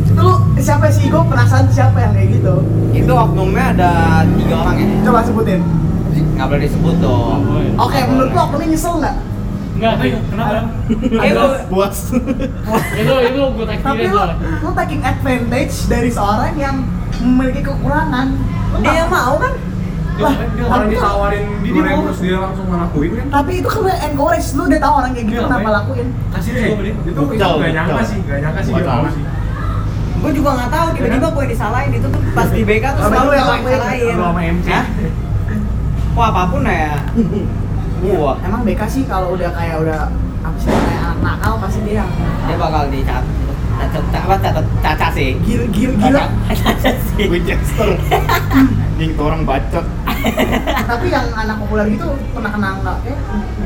S3: Itu lu siapa sih? Gue penasaran siapa yang kayak gitu.
S2: Itu oknumnya ada tiga orang ya.
S3: Coba sebutin.
S2: Nggak boleh disebut
S5: Oh,
S2: dong.
S5: boy.
S3: Oke, menurut lo oknumnya nyesel nggak?
S5: Enggak, Ting. kenapa? Iya,
S2: Eh lu
S1: Puas.
S5: Itu itu good
S3: Tapi
S5: experience
S6: Iya,
S3: lo,
S5: soalnya.
S3: lo taking advantage dari seorang yang memiliki kekurangan. Lo
S2: dia yang
S3: nggak-
S2: mau kan?
S3: Lah,
S6: Iya. Orang
S3: tapi,
S6: ditawarin
S4: Dia
S6: dua ribu
S4: mau.
S6: terus dia langsung ngelakuin kan?
S3: tapi itu kan lo encourage, lo udah tahu orang kayak gitu
S4: Iya,
S3: kenapa
S4: ngapain?
S3: lakuin.
S4: Kasih
S6: Eh,
S4: deh,
S6: itu itu
S1: Jauh,
S6: gak nyangka
S1: jauh.
S6: sih, gak nyangka sih
S1: Gua
S6: dia
S1: tahu.
S6: mau sih.
S2: Gue juga nggak tahu. Tiba-tiba gue disalahin itu tuh pas di BK tuh
S3: Apa
S2: selalu
S3: itu
S2: yang
S3: yang lakuin?
S2: disalahin.
S6: Lu sama MC.
S2: Hah? Wah apapun ya. Wah.
S3: Emang BK sih kalau udah kayak udah apa sih kayak anak nakal pasti dia yang
S2: Dia bakal dicat. Cacat, cacat, cacat, cacat sih.
S3: gil gil
S6: Iya.
S3: gila.
S2: Cacat sih.
S1: Gue jester. Anjing tuh orang bacot.
S3: tapi yang anak populer gitu pernah kena nggak? Eh,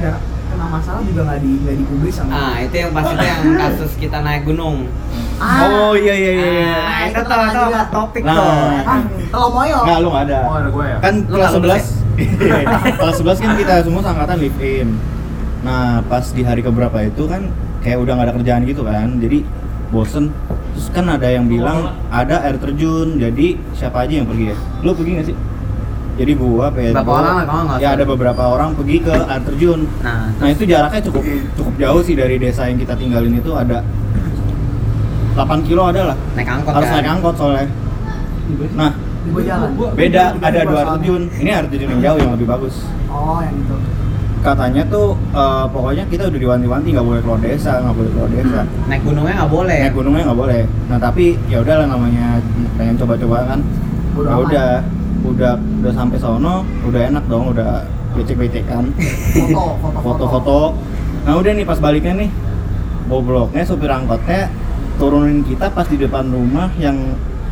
S3: nggak kena masalah juga nggak di nggak dipublis sama.
S2: Ah, itu yang pas itu yang kasus kita naik gunung.
S3: Ah.
S1: Oh iya iya iya. iya.
S2: Ah, itu
S3: Nah, itu
S2: tuh itu
S3: juga.
S2: apa topik
S1: Nah.
S2: tuh.
S3: Ah, kalau moyo.
S1: Enggak, lu enggak ada.
S6: Oh ada gue ya.
S1: Kan
S2: Lu
S1: kelas
S2: nggak lulus ya?
S1: 11. Iya. Kelas 11 kan kita semua seangkatan live in. Nah, pas di hari keberapa itu kan kayak udah nggak ada kerjaan gitu kan. Jadi bosen terus kan ada yang
S2: Oh.
S1: bilang ada air terjun jadi siapa aja yang pergi ya lu pergi nggak sih jadi gua Pedro
S2: Berapa orang lah, kalau nggak
S1: ya
S2: salah.
S1: ada beberapa orang pergi ke air terjun
S2: Nah,
S1: Nah itu jaraknya cukup cukup jauh sih dari desa yang kita tinggalin itu ada 8 kilo ada lah
S2: naik angkot
S1: harus
S2: kan?
S1: naik angkot soalnya nah
S3: di bawah jalan
S1: beda ada dua air terjun ini air terjun yang jauh yang lebih bagus
S3: oh yang itu
S1: katanya tuh eh, pokoknya kita udah diwanti-wanti nggak boleh keluar desa nggak boleh keluar desa
S2: naik gunungnya nggak boleh
S1: naik gunungnya nggak boleh nah tapi ya udahlah namanya pengen coba-coba kan
S3: Bodo
S1: ya
S3: amat.
S1: udah udah udah sampai sono udah enak dong udah becek-becekan
S3: foto foto foto,
S1: foto-foto nah udah nih pas baliknya nih gobloknya supir angkotnya turunin kita pas di depan rumah yang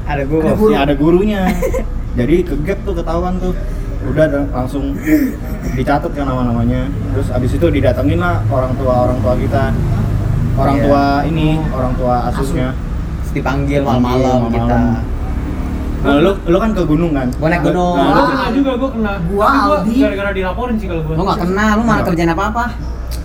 S5: Ada
S3: Ada
S5: gua.
S3: guru.
S1: yang ada gurunya jadi kegap tuh ketahuan tuh udah dong, langsung dicatat kan nama-namanya terus abis itu didatengin lah orang tua orang tua kita orang
S2: Iya.
S1: tua ini orang tua asusnya
S2: Terus
S1: Dipanggil
S2: dipanggil malam-malam
S1: Iya, malam-malam.
S2: kita
S1: nah, lu lu kan ke gunung kan
S2: Gua naik gunung. Ah,
S1: Nah,
S5: Gua
S1: lu-
S5: kena juga, gua kena.
S3: Gua
S5: Tapi
S3: Aldi.
S5: gara-gara dilaporin sih kalau gua.
S2: lu nggak kenal lu malah
S1: Enggak.
S2: kerjaan apa apa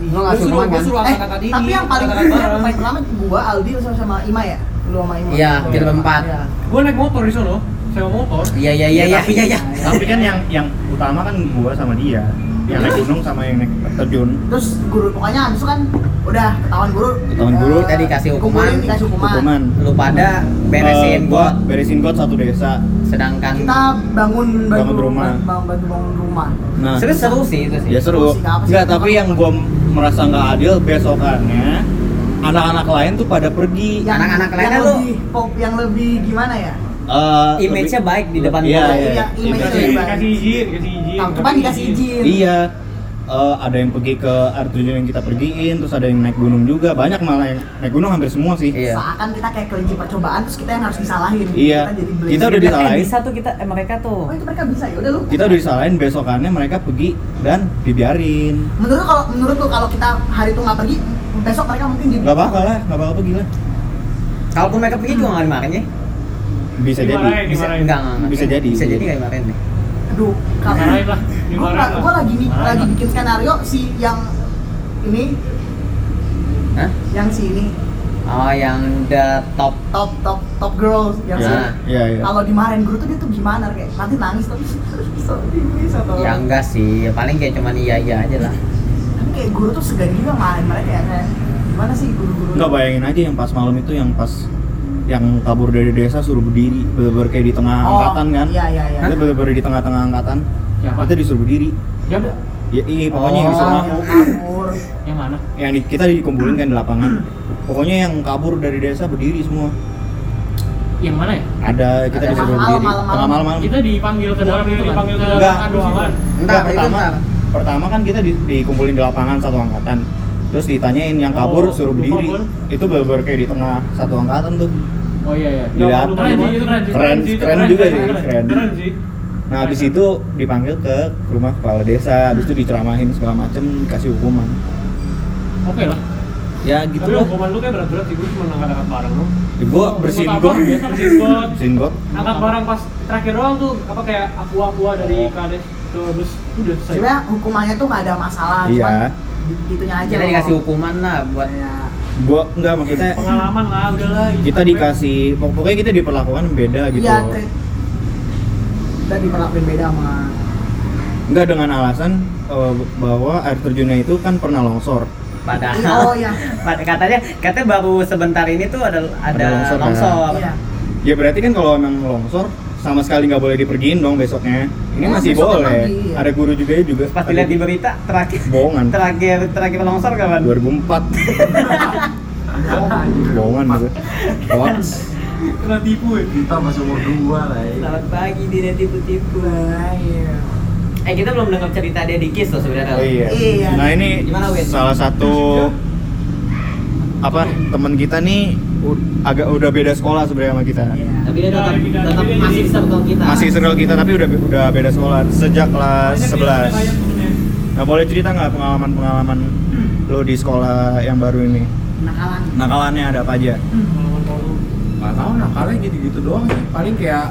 S2: lu
S4: Gua
S2: nggak suruh
S4: suruh, gua
S2: makan
S4: suruh
S3: eh
S4: angkat ini.
S3: tapi yang paling
S4: angkat-angkat
S3: yang
S4: bareng.
S3: paling lama gua Aldi sama sama Ima ya lu sama Ima
S2: Iya, kita berempat.
S3: Iya.
S5: Gua naik motor di sono. Sewa motor.
S2: iya iya iya iya
S1: tapi-
S2: iya iya
S1: tapi kan yang yang utama kan gua sama dia yang naik gunung sama yang naik terjun
S3: terus guru pokoknya abis itu kan udah ketahuan guru
S1: Ketahuan guru,
S3: eh,
S2: tadi kasih hukuman.
S3: dikumpulin, dikasih hukuman.
S1: hukuman
S2: lu pada beresin
S1: Eh,
S2: gua
S1: gua beresin got satu desa
S2: sedangkan
S3: kita bangun
S1: Bangun rumah.
S3: bangun bangun, bangun rumah
S1: nah
S2: seru seru sih itu sih
S1: Ya seru.
S3: Nggak apa sih.
S1: Enggak, tapi yang gua merasa nggak adil besokannya anak-anak lain tuh pada pergi.
S2: Ya. Anak-anak lainnya
S3: yang
S2: lu-
S3: lebih pop yang lebih gimana ya
S1: Eh,
S2: Image-nya
S1: lebih-
S2: baik di depan
S1: iya, iya,
S2: gua.
S3: Iya,
S1: iya.
S3: image-nya
S5: Kasih,
S3: baik.
S5: kasih izin, kasih izin.
S3: tangkapan dikasih izin
S1: Iya. Eh, ada yang pergi ke air terjun yang kita pergiin, terus ada yang naik gunung juga. Banyak malah yang naik gunung hampir semua sih.
S2: Iya.
S3: seakan kita kayak kelinci percobaan terus kita yang harus disalahin
S1: Iya.
S3: kita jadi
S1: Kita udah
S3: blazer.
S2: Dia bilang,
S1: disalahin.
S2: eh, bisa tuh kita eh, mereka tuh
S3: oh itu mereka bisa ya udah lu
S1: Kita udah disalahin besokannya mereka pergi dan dibiarin.
S3: menurut lu kalau menurut lu kalau kita hari itu nggak pergi besok mereka mungkin jadi
S1: Gak bakal lah, gak bakal pergi lah.
S2: kalaupun mereka pergi juga nggak dimarahin ya
S1: Bisa
S5: Dimarahin.
S1: jadi.
S2: bisa
S5: Dimarahin.
S2: enggak enggak
S1: Bisa jadi.
S2: bisa jadi nggak dimarahin nih
S3: aduh kalau
S5: Dimarahin lah,
S3: gue
S5: dimarahin lah.
S3: lagi nih
S5: Dimarahin
S3: lagi
S5: lah.
S3: bikin skenario si yang ini
S2: Hah?
S3: yang si ini
S2: oh yang the top
S3: top top top girls yang si
S1: Ya, iya, iya.
S3: kalau dimarahin guru tuh dia tuh gimana kayak nanti nangis tapi bisa bisa atau
S2: ya enggak sih ya paling kayak cuman iya iya aja lah
S3: tapi kayak guru tuh segan juga marahin mereka ya kayak gimana sih guru-guru
S1: Nggak bayangin aja yang pas malam itu yang pas yang kabur dari desa suruh berdiri bener kayak di tengah angkatan kan
S3: iya iya iya
S1: Kita bener di tengah-tengah angkatan
S5: Siapa?
S1: kita disuruh berdiri
S5: Siapa?
S1: ya iya pokoknya
S2: Oh.
S1: yang disuruh
S3: Orang
S1: ngaku
S3: yang kabur.
S5: Yang mana?
S1: yang di- kita dikumpulin kan di lapangan pokoknya yang kabur dari desa berdiri semua
S5: Yang mana ya?
S1: ada kita
S2: Ada
S1: disuruh
S3: malam,
S1: berdiri
S3: malam, malam.
S1: tengah malam
S5: Kita dipanggil ke dalam itu kan?
S4: dipanggil ke
S1: Enggak.
S5: Aduh, aman.
S1: Enggak,
S2: Entar, itu
S1: pertama
S2: entar.
S1: pertama kan kita di- dikumpulin di lapangan satu angkatan terus ditanyain yang kabur
S5: Oh,
S1: suruh
S5: lupa
S1: berdiri
S5: gua.
S1: itu bener kayak di tengah satu angkatan tuh
S4: Oh iya iya.
S1: Dilihat.
S4: Lupa,
S5: Keren
S4: lupa.
S5: sih, itu keren sih.
S1: Keren,
S5: sih, itu
S1: keren juga sih,
S5: keren.
S1: keren.
S5: Keren sih.
S1: Nah, habis itu dipanggil ke rumah kepala desa, habis itu diceramahin segala macem, dikasih hukuman.
S5: Oke lah.
S1: Ya gitu
S5: Tapi
S1: loh.
S5: hukuman lu kayak berat-berat sih, gua cuma ngangkat-ngangkat barang lu.
S1: Ya, Gua bersihin got,
S5: Biasa bersihin got.
S1: bersihin got.
S5: Angkat barang pas terakhir doang tuh apa kayak aqua-aqua dari kades tuh terus udah selesai.
S3: sebenarnya hukumannya tuh nggak ada masalah
S1: Iya.
S3: cuman di- itunya aja
S2: kita
S3: loh.
S2: dikasih hukuman lah buat
S3: Iya.
S1: Gua enggak maksudnya
S5: Pengalaman lah udah lah. gitu.
S1: kita dikasih pok- pokoknya kita diperlakukan beda gitu.
S3: iya tri- kita diperlakuin beda sama
S1: Enggak dengan alasan eh, bahwa air terjunnya itu kan pernah longsor.
S2: padahal
S3: oh iya
S2: pad- katanya katanya baru sebentar ini tuh ada ada
S1: Ada longsor, kan?
S2: longsor
S3: iya
S1: Ya berarti kan kalau emang longsor sama sekali nggak boleh dipergiin dong besoknya. Ini
S3: Ya,
S1: masih
S3: besoknya
S1: boleh.
S3: pagi, iya.
S1: Ada guru juga juga.
S2: pas dilihat di berita terakhir
S1: bohongan.
S2: terakhir terakhir longsor kapan
S1: 2004 bohongan gitu. Hoax.
S5: kena tipu ya.
S6: Kita masih umur dua lah ya.
S2: selamat pagi tidak tipu-tipu
S3: Wah, iya.
S2: eh kita belum dengar cerita dia di kiss loh sebenarnya
S1: Oh, iya.
S3: Iya.
S1: Nah ini
S2: Gimana, Win?
S1: salah satu apa teman kita nih u- agak udah beda sekolah sebenarnya sama kita.
S3: Iya.
S2: tapi dia tetap,
S5: Tapi dia-
S2: tetap
S5: tapi dia-
S2: masih circle kita
S1: Masih circle kita tapi udah udah beda sekolah sejak kelas
S5: Banyak ya, nih,
S1: 11.
S5: banyak temennya.
S1: Nah boleh cerita nggak pengalaman-pengalaman lo di sekolah yang baru ini?
S3: nakalan
S1: Nakalannya ada apa aja?
S5: Pengalaman baru.
S6: Gak tau nah, paling gitu-gitu doang sih. Paling kayak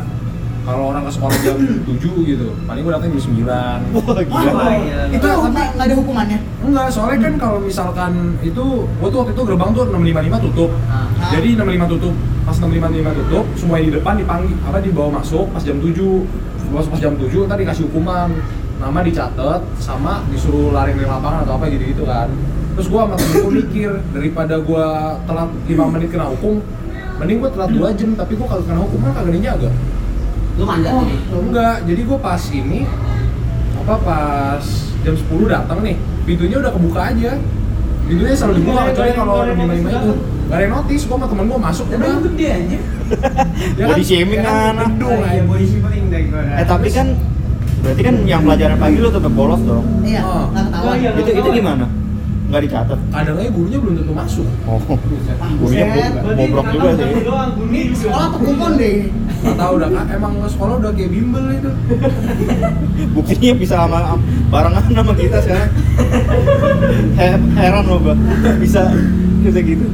S6: kalau orang ke sekolah jam 7 gitu, paling gue datang jam 9
S1: Wah
S2: Wah, iya.
S3: itu hukum- nggak ada hukumannya
S6: Enggak, soalnya kan kalau misalkan itu, gua tuh waktu itu gerbang tuh 655 tutup.
S2: Ah.
S6: Jadi 65 tutup, pas 655 tutup, semua yang di depan dipanggil, apa dibawa masuk pas jam 7. Pas, pas jam 7 tadi dikasih hukuman. Nama dicatat sama disuruh lari dari lapangan atau apa gitu-gitu kan. Terus gua sama temen gua mikir daripada gua telat 5 menit kena hukum, mending gua telat 2 jam tapi gua kalau kena hukuman kagak dijaga
S2: Lu manjat
S6: oh
S2: jadi.
S6: enggak jadi gua pas ini apa pas jam 10 datang nih pintunya udah kebuka aja pintunya selalu
S1: Iya,
S6: dibuka kecuali kalau
S5: Nggak ada
S6: lima lima
S5: notice
S6: itu gak ada yang notice gua sama temen gua masuk udah
S2: Emang gede aja.
S6: Ya
S1: Iya, Body shaming, kan. Iya,
S6: ya
S1: anak.
S6: gedung, anjing.
S2: body shaming deh gua.
S1: Eh tapi kan berarti kan yang pelajaran pagi lu tetap bolos dong.
S3: Iya,
S6: Oh.
S3: nggak ketahuan.
S5: Oh, iya.
S1: Itu itu gimana? Nggak dicatat.
S6: kadang aja gurunya belum tentu masuk
S1: Oh,
S3: Ah,
S1: gurunya
S3: buset.
S1: bo- bobrok juga sih.
S5: Ini
S3: Sekolah pekumpul deh ini.
S6: Gak tau udah Kak, emang sekolah udah kayak bimbel itu
S1: Buktinya bisa sama barengan sama kita sekarang. He- Heran loh gua bisa bisa gitu.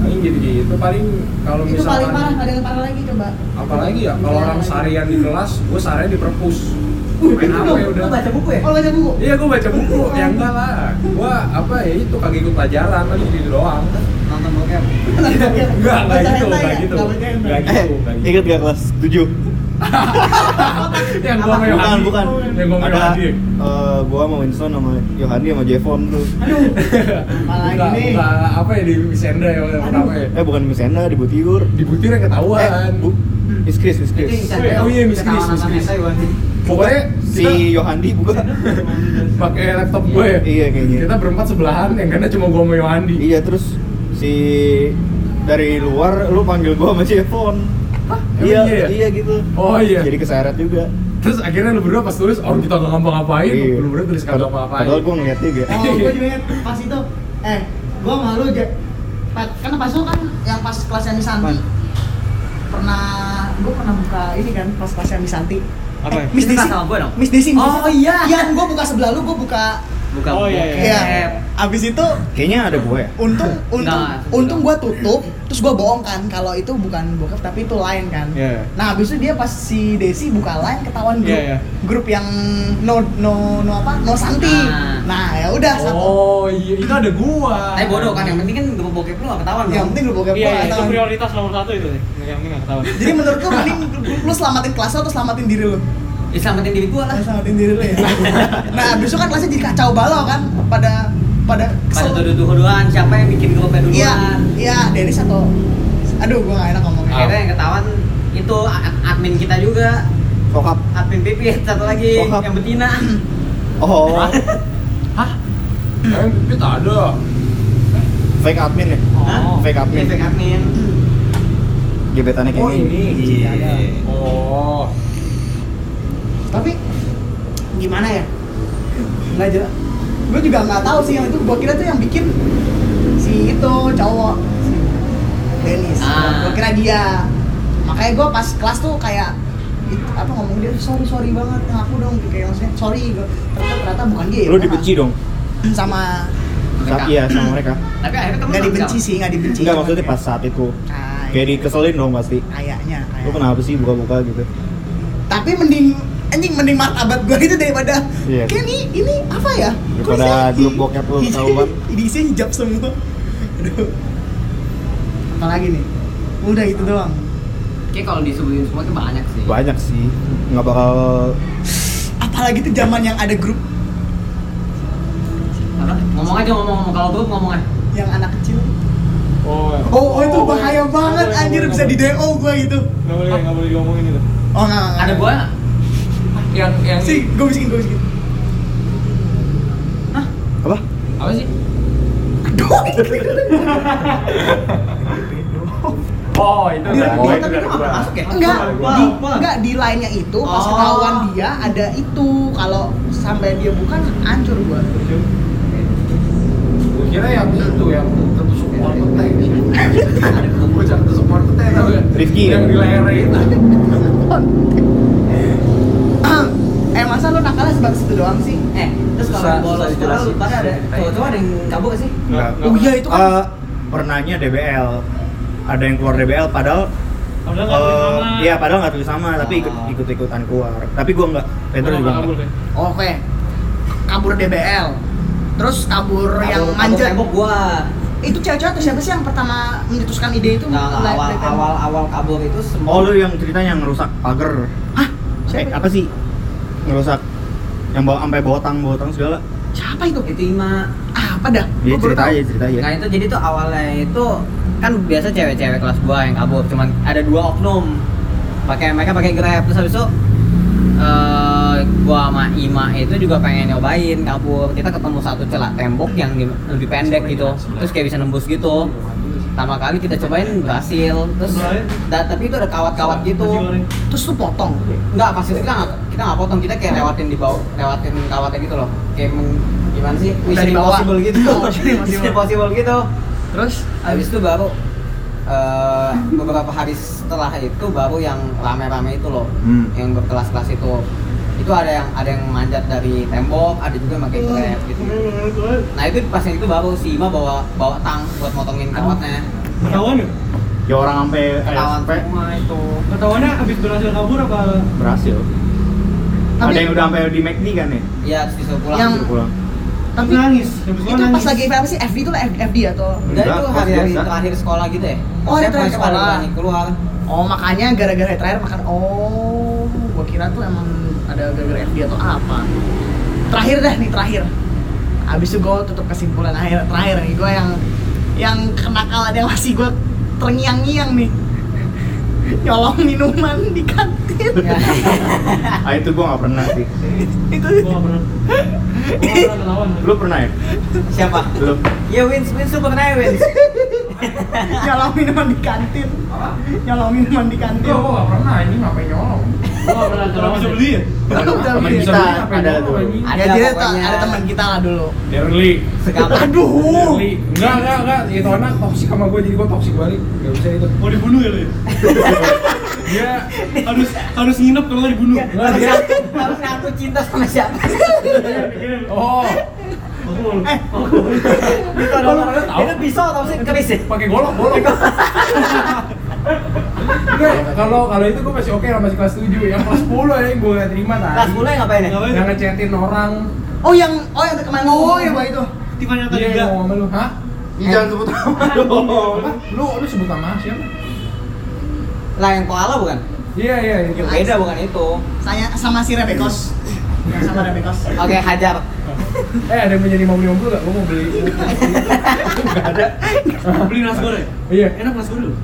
S6: paling jadi gitu paling kalau
S3: Itu paling parah,
S6: misalkan
S3: nggak ada yang parah lagi coba.
S6: apalagi ya kalau
S2: Iya,
S6: orang seharian di kelas gue seharian di perpus main
S2: Lu-
S6: hp
S2: Lu
S6: udah
S2: baca buku ya?
S3: Oh baca buku.
S6: iya gue baca buku ya enggak lah gue apa ya itu kagak ikut pelajaran kan gitu doang
S2: Nonton bokep.
S6: enggak enggak
S3: Baca
S6: gitu
S3: hentai
S6: enggak
S3: ya?
S6: gitu
S3: Nggak baca hentai.
S6: enggak
S1: Eh,
S6: gitu enggak gitu
S1: inget gak kelas 7?
S6: yang gue
S2: Apa?
S6: main
S1: Eh, Bukan, bukan.
S6: yang gue main
S1: Ada eh, gua sama Winston sama Yohani sama Jevon tuh.
S3: Malah
S6: enggak
S3: gini.
S6: enggak apa ya di Sendra ya pertama ya
S1: Eh bukan Miss Enda, di Butiur.
S6: di butir yang ketahuan
S1: Eh, bu, Miss Chris, Miss
S2: Itu
S1: Chris.
S2: yang
S6: Oh iya, Miss Chris, Miss Chris. pokoknya kita
S1: Si Yohandi buka.
S6: pakai laptop gue ya
S1: Iya kayaknya.
S6: kita berempat sebelahan yang karena cuma gua sama Yohandi
S1: Iya terus si dari luar lu panggil gua sama Jevon.
S6: Emang
S1: Iya,
S6: iya
S1: iya,
S6: ya?
S1: gitu.
S6: Oh iya.
S1: Jadi keseret juga.
S6: Terus akhirnya lu berdua pas tulis orang kita nggak ngapa-ngapain,
S1: Iya.
S6: lu berdua tulis kagak
S1: Padahal-
S6: ngapa-ngapain.
S1: Padahal gua ngeliat juga.
S3: Oh, gue juga inget pas itu. Eh, gue malu aja. Pat, karena pas itu kan yang pas kelasnya Misanti
S1: Apaan?
S3: pernah gue pernah buka ini kan pas kelasnya Misanti.
S5: Apa ya?
S1: Eh,
S3: Miss
S2: Ini
S3: Desi.
S2: kelas sama gua dong?
S3: Miss Desi. Miss
S2: Oh,
S3: Desi.
S2: iya.
S3: Iya, gue buka sebelah lu, gue buka.
S2: Buka
S5: Oh, iya,
S2: bokep.
S3: Iya. Abis itu
S1: Kayaknya ada gua ya.
S3: untung untung
S2: Nah,
S3: untung gue tutup terus gue bohong kan kalau itu bukan bokep tapi itu lain kan
S5: Iya.
S3: nah habis itu dia pas si Desi buka lain ketahuan grup
S5: Iya, iya.
S3: grup yang no no no apa no santi
S2: Nah.
S3: nah ya udah satu
S6: Oh iya, itu ada gua.
S1: Eh,
S2: Tapi bodoh kan, yang penting kan gua bokep lu gak ketahuan dong.
S3: yang penting grup bokep
S5: Iya,
S3: gua
S5: itu
S3: ketahuan.
S5: prioritas nomor satu itu sih. Yang ini nggak ketahuan.
S3: jadi menurut lu mending lu selamatin kelas lu atau selamatin diri lu
S2: Ya selamatin diri gua lah.
S3: Nah, selamatin diri lu ya nah abis itu kan kelasnya jadi kacau balau kan pada pada
S2: Pada
S3: kesel.
S2: tuduh-tuduhan, siapa yang bikin grupnya
S3: iya
S2: duluan?
S3: iya Dennis atau aduh gue gak enak ngomongnya
S2: Akhirnya yang ketahuan itu ad- admin kita juga,
S1: Sokap.
S2: admin Pipit satu lagi
S1: Bokap.
S2: yang betina.
S1: Oh,
S6: Eh, Pipit ada.
S1: fake admin ya.
S2: Hah?
S5: Oh.
S1: Fake
S2: Iya,
S1: admin.
S2: fake admin.
S5: Ah.
S1: Gebetannya kayak
S6: Oh ini.
S3: Iya.
S6: Oh.
S3: tapi gimana ya nggak jelas gue juga nggak tahu sih yang itu gue kira tuh yang bikin si itu cowok si Dennis
S2: Ah.
S3: gue kira dia makanya gue pas kelas tuh kayak it- apa ngomong dia sorry sorry banget ngaku dong gitu kayak maksudnya sorry gue ternyata, ternyata bukan dia ya,
S1: Lu
S3: bukan.
S1: dibenci dong.
S3: sama
S1: Sa-
S2: Mereka.
S1: Iya, sama mereka.
S2: Tapi akhirnya temen
S3: ya, nggak dibenci sih nggak dibenci
S1: Enggak
S3: cuman
S1: maksudnya
S3: kayak-
S1: pas saat itu.
S3: Kayak-
S1: Kayak dikeselin dong pasti.
S3: kayaknya
S1: Lu
S3: kayak
S1: kenapa sih buka-buka gitu?
S3: tapi mending anjing mending martabat gue itu daripada
S1: Iya.
S3: kayak ini ini apa ya Kok
S1: Daripada
S3: isinya
S1: grup
S3: hi-
S1: bokep lu
S3: hi-
S1: ketahuan.
S3: isinya hijab semua aduh apalagi nih udah itu doang
S2: Kayak kalau disebutin semua itu banyak sih.
S1: Banyak sih. Nggak bakal
S3: apalagi tuh zaman yang ada grup
S2: Apa? Ngomong aja ngomong, ngomong. kalau grup ngomong aja.
S3: yang anak kecil
S5: Oh, ya.
S3: oh, oh, itu bahaya
S5: Nggak
S3: banget
S5: boleh,
S3: anjir
S5: nggak
S3: bisa di
S5: boleh.
S3: DO gue gitu
S5: Nggak boleh, nggak boleh diomongin gitu. itu.
S3: oh enggak, enggak,
S2: Ada
S3: enggak.
S2: gua
S6: Yang yang
S3: sih gue bisikin gue bisikin
S1: apa?
S6: apa sih? Oh, itu
S1: Iya,
S3: Dia- dia
S6: ada
S3: kan
S6: gua, itu ada
S2: kenapa
S6: gua.
S2: masuk ya?
S3: enggak
S2: Gua-
S3: di
S2: gua.
S3: enggak di lainnya itu pas
S2: Oh.
S3: ketahuan dia ada itu kalau sampai dia bukan hancur gue
S6: Gua kira yang itu yang tertusuk support petai. Ada gua jangan support petai tau gak?
S1: Rifki.
S6: Yang di layarnya itu.
S3: eh masa lu nakalnya sebatas itu doang sih
S2: Eh, terus
S6: Susah-
S2: kalau bolos sekolah
S6: susah
S2: lu
S6: dijelasin.
S2: pada ada cowok-cowok ada yang kabur gak sih?
S5: Nggak,
S1: Nggak.
S5: nggak
S3: Oh iya
S5: boleh.
S3: itu kan
S1: Eh, pernahnya DBL. Ada yang keluar DBL padahal
S5: Padahal nggak boleh
S1: eh,
S5: sama.
S1: iya padahal nggak tulis sama tapi ikut
S2: Ah.
S1: ikut ikutan keluar tapi gua nggak Pedro
S5: Padahal
S1: juga
S5: nggak
S1: nggak
S5: boleh.
S3: Ah. oke kabur DBL terus kabur yang
S2: Kabur- kabur
S3: manjat
S2: tembok gua.
S3: itu cewek-cewek atau siapa sih yang pertama mencetuskan ide itu
S2: Nah,
S3: Live-
S2: awal
S3: live tembok?
S2: awal awal kabur itu semua
S1: oh lu yang cerita yang ngerusak pagar
S3: Hah?
S1: eh,
S3: siapa
S1: apa sih ngerusak yang bawa sampai bawa tang bawa tang segala
S3: siapa itu
S2: itu gitu, Ima
S3: ah apa dah?
S1: Iya
S3: Gua baru
S1: cerita
S3: tahu.
S1: aja, cerita aja.
S2: Nah itu jadi tuh awalnya itu kan biasa cewek-cewek kelas gua yang kabur, cuman ada dua oknum pakai mereka pakai grab terus habis itu eh, gua sama Ima itu juga pengen nyobain kabur kita ketemu satu celah tembok yang di- lebih pendek gitu terus kayak bisa nembus gitu pertama kali kita cobain berhasil terus da- tapi itu ada kawat-kawat gitu
S3: Terus lu potong.
S2: Enggak, pas itu kita nggak kita nggak potong, kita kayak lewatin di bawah, lewatin kawatnya gitu loh. Kayak meng- gimana sih? Mission
S3: di bawah.
S2: impossible gitu.
S3: Oh, Mission Impossible.
S2: Mission impossible gitu.
S3: Terus
S2: Habis itu baru eh, beberapa hari setelah itu baru yang rame-rame itu loh,
S1: Hmm.
S2: yang berkelas-kelas itu. Itu ada yang ada yang manjat dari tembok, ada juga yang pakai
S5: Hmm.
S2: grab gitu. Nah itu pas yang itu baru si Ima bawa bawa tang buat motongin kawatnya.
S5: Ketahuan ya?
S1: Ya orang sampai
S2: Ketahuan
S1: sampai
S2: semua itu.
S5: Ketahuannya abis berhasil kabur apa?
S1: berhasil.
S3: Tapi-
S1: Ada yang udah sampai di McD kan ya?
S2: Iya, terus disuruh pulang.
S3: Yang-
S1: Suruh pulang.
S3: tapi
S5: nangis. Habis itu
S3: itu pas
S5: nangis.
S3: lagi apa sih FD itu lah FD atau
S2: Enggak,
S1: Enggak,
S2: itu
S1: pas
S2: hari-hari
S1: biasa.
S2: terakhir sekolah gitu ya?
S3: Oh, hari terakhir
S2: Maksudnya pas
S3: sekolah.
S2: berani keluar
S3: oh makanya gara-gara yang terakhir makan oh gua kira tuh emang ada gara-gara FD atau apa terakhir dah nih terakhir abis itu gua tutup kesimpulan akhir terakhir nih gua yang yang kenakalan yang masih gua terngiang-ngiang nih nyolong minuman di kantin
S1: Ah itu gua nggak pernah sih.
S3: itu
S5: Gua nggak pernah. Gua nggak pernah ketahuan.
S1: Lu pernah ya?
S2: Siapa?
S1: Lu.
S2: Ya Wins, Wins lu pernah ya Wins?
S3: nyolong minuman di kantin nyolong minuman di kantin
S6: Iya, gua nggak pernah ini ngapain nyolong.
S5: Gua nggak pernah
S4: Kalau
S5: ketahuan.
S4: bisa beli ya?
S3: Udah,
S1: Temen
S3: iya.
S1: kita ada tuh.
S3: ada
S2: Ada
S3: jadi
S2: pokoknya.
S3: ada teman kita lah dulu
S6: Darren Lee.
S2: Segapan
S3: aduh
S6: Darren Lee. Enggak, enggak, enggak. Itu anak toksik sama gue jadi gue toksik balik. Gak bisa itu.
S4: Mau dibunuh ya lu ya?
S6: Dia
S4: Harus harus nginep kalau nggak dibunuh.
S6: enggak dia.
S2: Harus ngaku cinta sama siapa?
S6: Oh,
S2: Itu ada orang
S6: tahu.
S2: Itu pisau tau sih, keris ya?
S6: pakai golok, golok. Enggak, kalau kalau itu gue masih oke lah masih kelas 7 Yang kelas 10 ya yang gue gak terima tadi
S2: Kelas mulai ngapain ya?
S4: Ngapain?
S6: Yang ngechatin orang
S3: oh yang oh yang kemana oh iya pak itu
S4: Tiffany atau
S6: Dia
S4: enggak?
S6: yang ngomong sama lu, hah?
S1: Ih, Jangan sebut nama dong.
S6: Apa? Lu, lu sebut nama siapa?
S2: Lah yang koala bukan?
S6: Iya, iya, iya
S2: Ya beda bukan itu
S3: saya sama si Rebekos yang sama Rebekos
S2: Oke, hajar
S6: Eh, ada yang menjadi mau beli mobil gak? Gue mau beli
S4: Beli nasi goreng.
S6: Iya
S4: Enak nasi goreng. lu.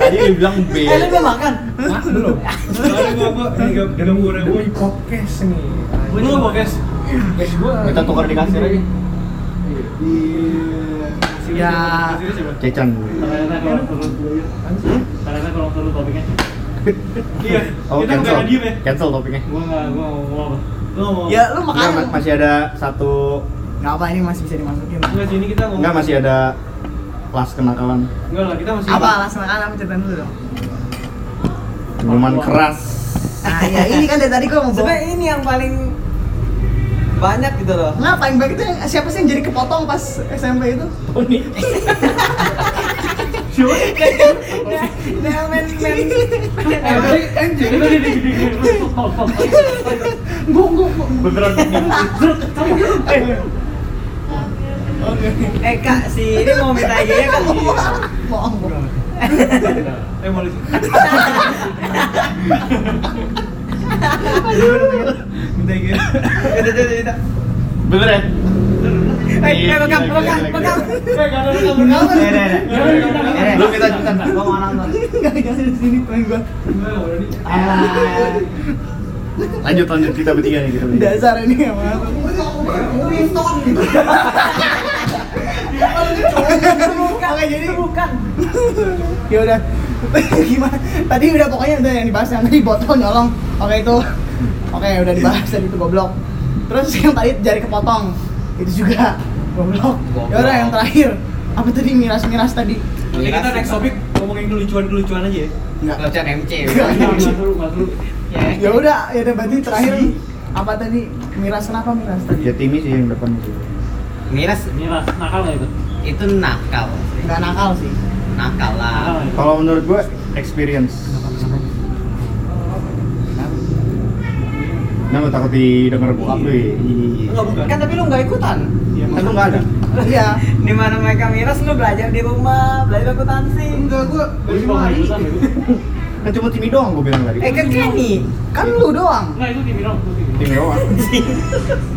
S1: Tadi dibilang B.
S2: Eh lu udah makan?
S6: Hah? Belum?
S4: Soalnya gua gua ini gak gak nemu goreng.
S6: Demi podcast nih
S4: Lu nggak mau guys?
S6: Podcast gua
S1: Kita tukar di kasir aja.
S6: Iya.
S3: Ya.
S1: Cecan.
S5: Karena kalau perlu, karena kalau perlu topiknya,
S4: Iya.
S1: Oh,
S4: Kita nggak
S1: cancel.
S4: diem ya.
S1: Cancel topiknya.
S5: gua nggak, gua nggak ngomong apa.
S4: Lu mau?
S3: ya lu
S1: Enggak, ma-
S3: makan
S1: masih ada satu
S3: nggak apa ini masih bisa dimasukin
S4: Enggak sini kita ngomong.
S1: enggak masih ada kelas kenakalan
S4: Enggak lah, kita masih
S3: apa alasan makan apa ceritain dulu dong
S1: minuman keras.
S3: nah ya ini kan dari tadi gua mau bawa
S2: Sebenernya ini yang paling banyak gitu loh
S3: Nggak, paling baik itu yang, siapa sih yang jadi kepotong pas SMP itu?
S1: Unik.
S3: Nah, men, men
S5: Eh, tapi anjir, itu dia digigit.
S1: Beneran unik.
S2: Eh kak, si ini mau minta IG-nya kan?
S3: Iya. Bohong, bohong
S4: Eh, mau lihat. Minta IG.
S2: Udah, udah, udah
S1: Bener ya?
S2: Eh, eh, pegang,
S1: Gila,
S2: pegang,
S1: gila,
S2: pegang
S5: Eh, nggak ada rekam rekam.
S2: Eh, eh, eh, eh.
S1: Lu kita cepetan.
S2: Gua mau nonton.
S3: Nggak, nggak ada di sini pengen gua
S1: Lanjut lanjut kita bertiga nih kita bertiga.
S3: Dasar ini ya, maaf Winston gitu Bukan, jadi bukan Ya udah Gimana? Tadi udah pokoknya udah yang dibahas yang tadi botol nyolong Oke itu Oke udah dibahas tadi itu goblok Terus yang tadi jari kepotong Itu juga goblok Ya udah yang terakhir Apa tadi miras-miras tadi?
S4: Oke, kita next topic ngomongin kelucuan-kelucuan aja ya.
S2: Gak usah MC.
S5: Nggak, nggak seru, nggak seru.
S3: Ya udah, ya udah berarti terakhir apa tadi miras kenapa miras tadi?
S1: Ya Timmy sih yang depan sih.
S2: Miras
S5: Ini lah, nakal nggak itu?
S2: itu nakal.
S3: Enggak nakal sih.
S2: Nakal
S5: Nakal
S2: lah.
S5: nggak itu?
S1: Kalau menurut gue experience. Nah, lu takut didengar bokap lu ya?
S2: Enggak bukan. Kan tapi lu enggak ikutan.
S1: Iya, kan lu nggak ada.
S3: Iya.
S2: Di mana mereka miras lu belajar di rumah, belajar akuntansi.
S3: Enggak gua
S5: Gua juga nggak ikutan, ya, gua.
S1: Kan cuma Timmy doang gue bilang tadi.
S2: Eh kan Kenny.
S3: kan lu doang.
S5: Nggak, itu di Minang, itu di Minang.
S1: Timmy doang.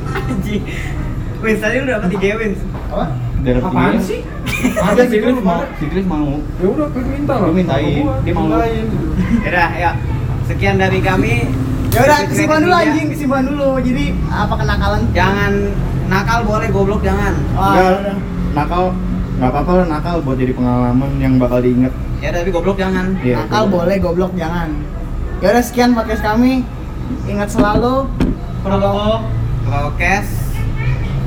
S2: Anjing. Wins tadi lu dapat 3 wins.
S6: apa
S1: Dari
S5: Apaan
S1: tiga.
S5: sih?
S1: Ada sih Cliff mau, si Cliff mau.
S6: ya udah gue minta lah
S1: Lu mintain,
S6: Sama gua.
S1: dia mau.
S6: Mintain.
S2: Yaudah, ya. Sekian dari kami.
S3: Ya udah
S2: Secret
S3: kesimpulan dulu
S2: Ninja.
S3: anjing, kesimpulan dulu. Jadi apa kenakalan?
S2: Jangan nakal boleh goblok jangan.
S5: Ah,
S3: Wah,
S1: Enggak,
S5: iya.
S1: nakal nggak apa-apa lah nakal buat jadi pengalaman yang bakal diinget.
S2: Ya tapi goblok jangan.
S1: Iya,
S3: nakal
S1: itu.
S3: boleh, goblok jangan. Ya udah sekian podcast kami. Ingat selalu
S5: Protokol
S2: Prokes.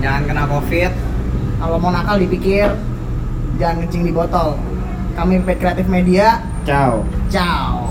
S2: Jangan kena covid.
S3: kalau mau nakal dipikir, jangan kencing di botol. Kami Pet Kreatif Media.
S1: Ciao.
S3: Ciao.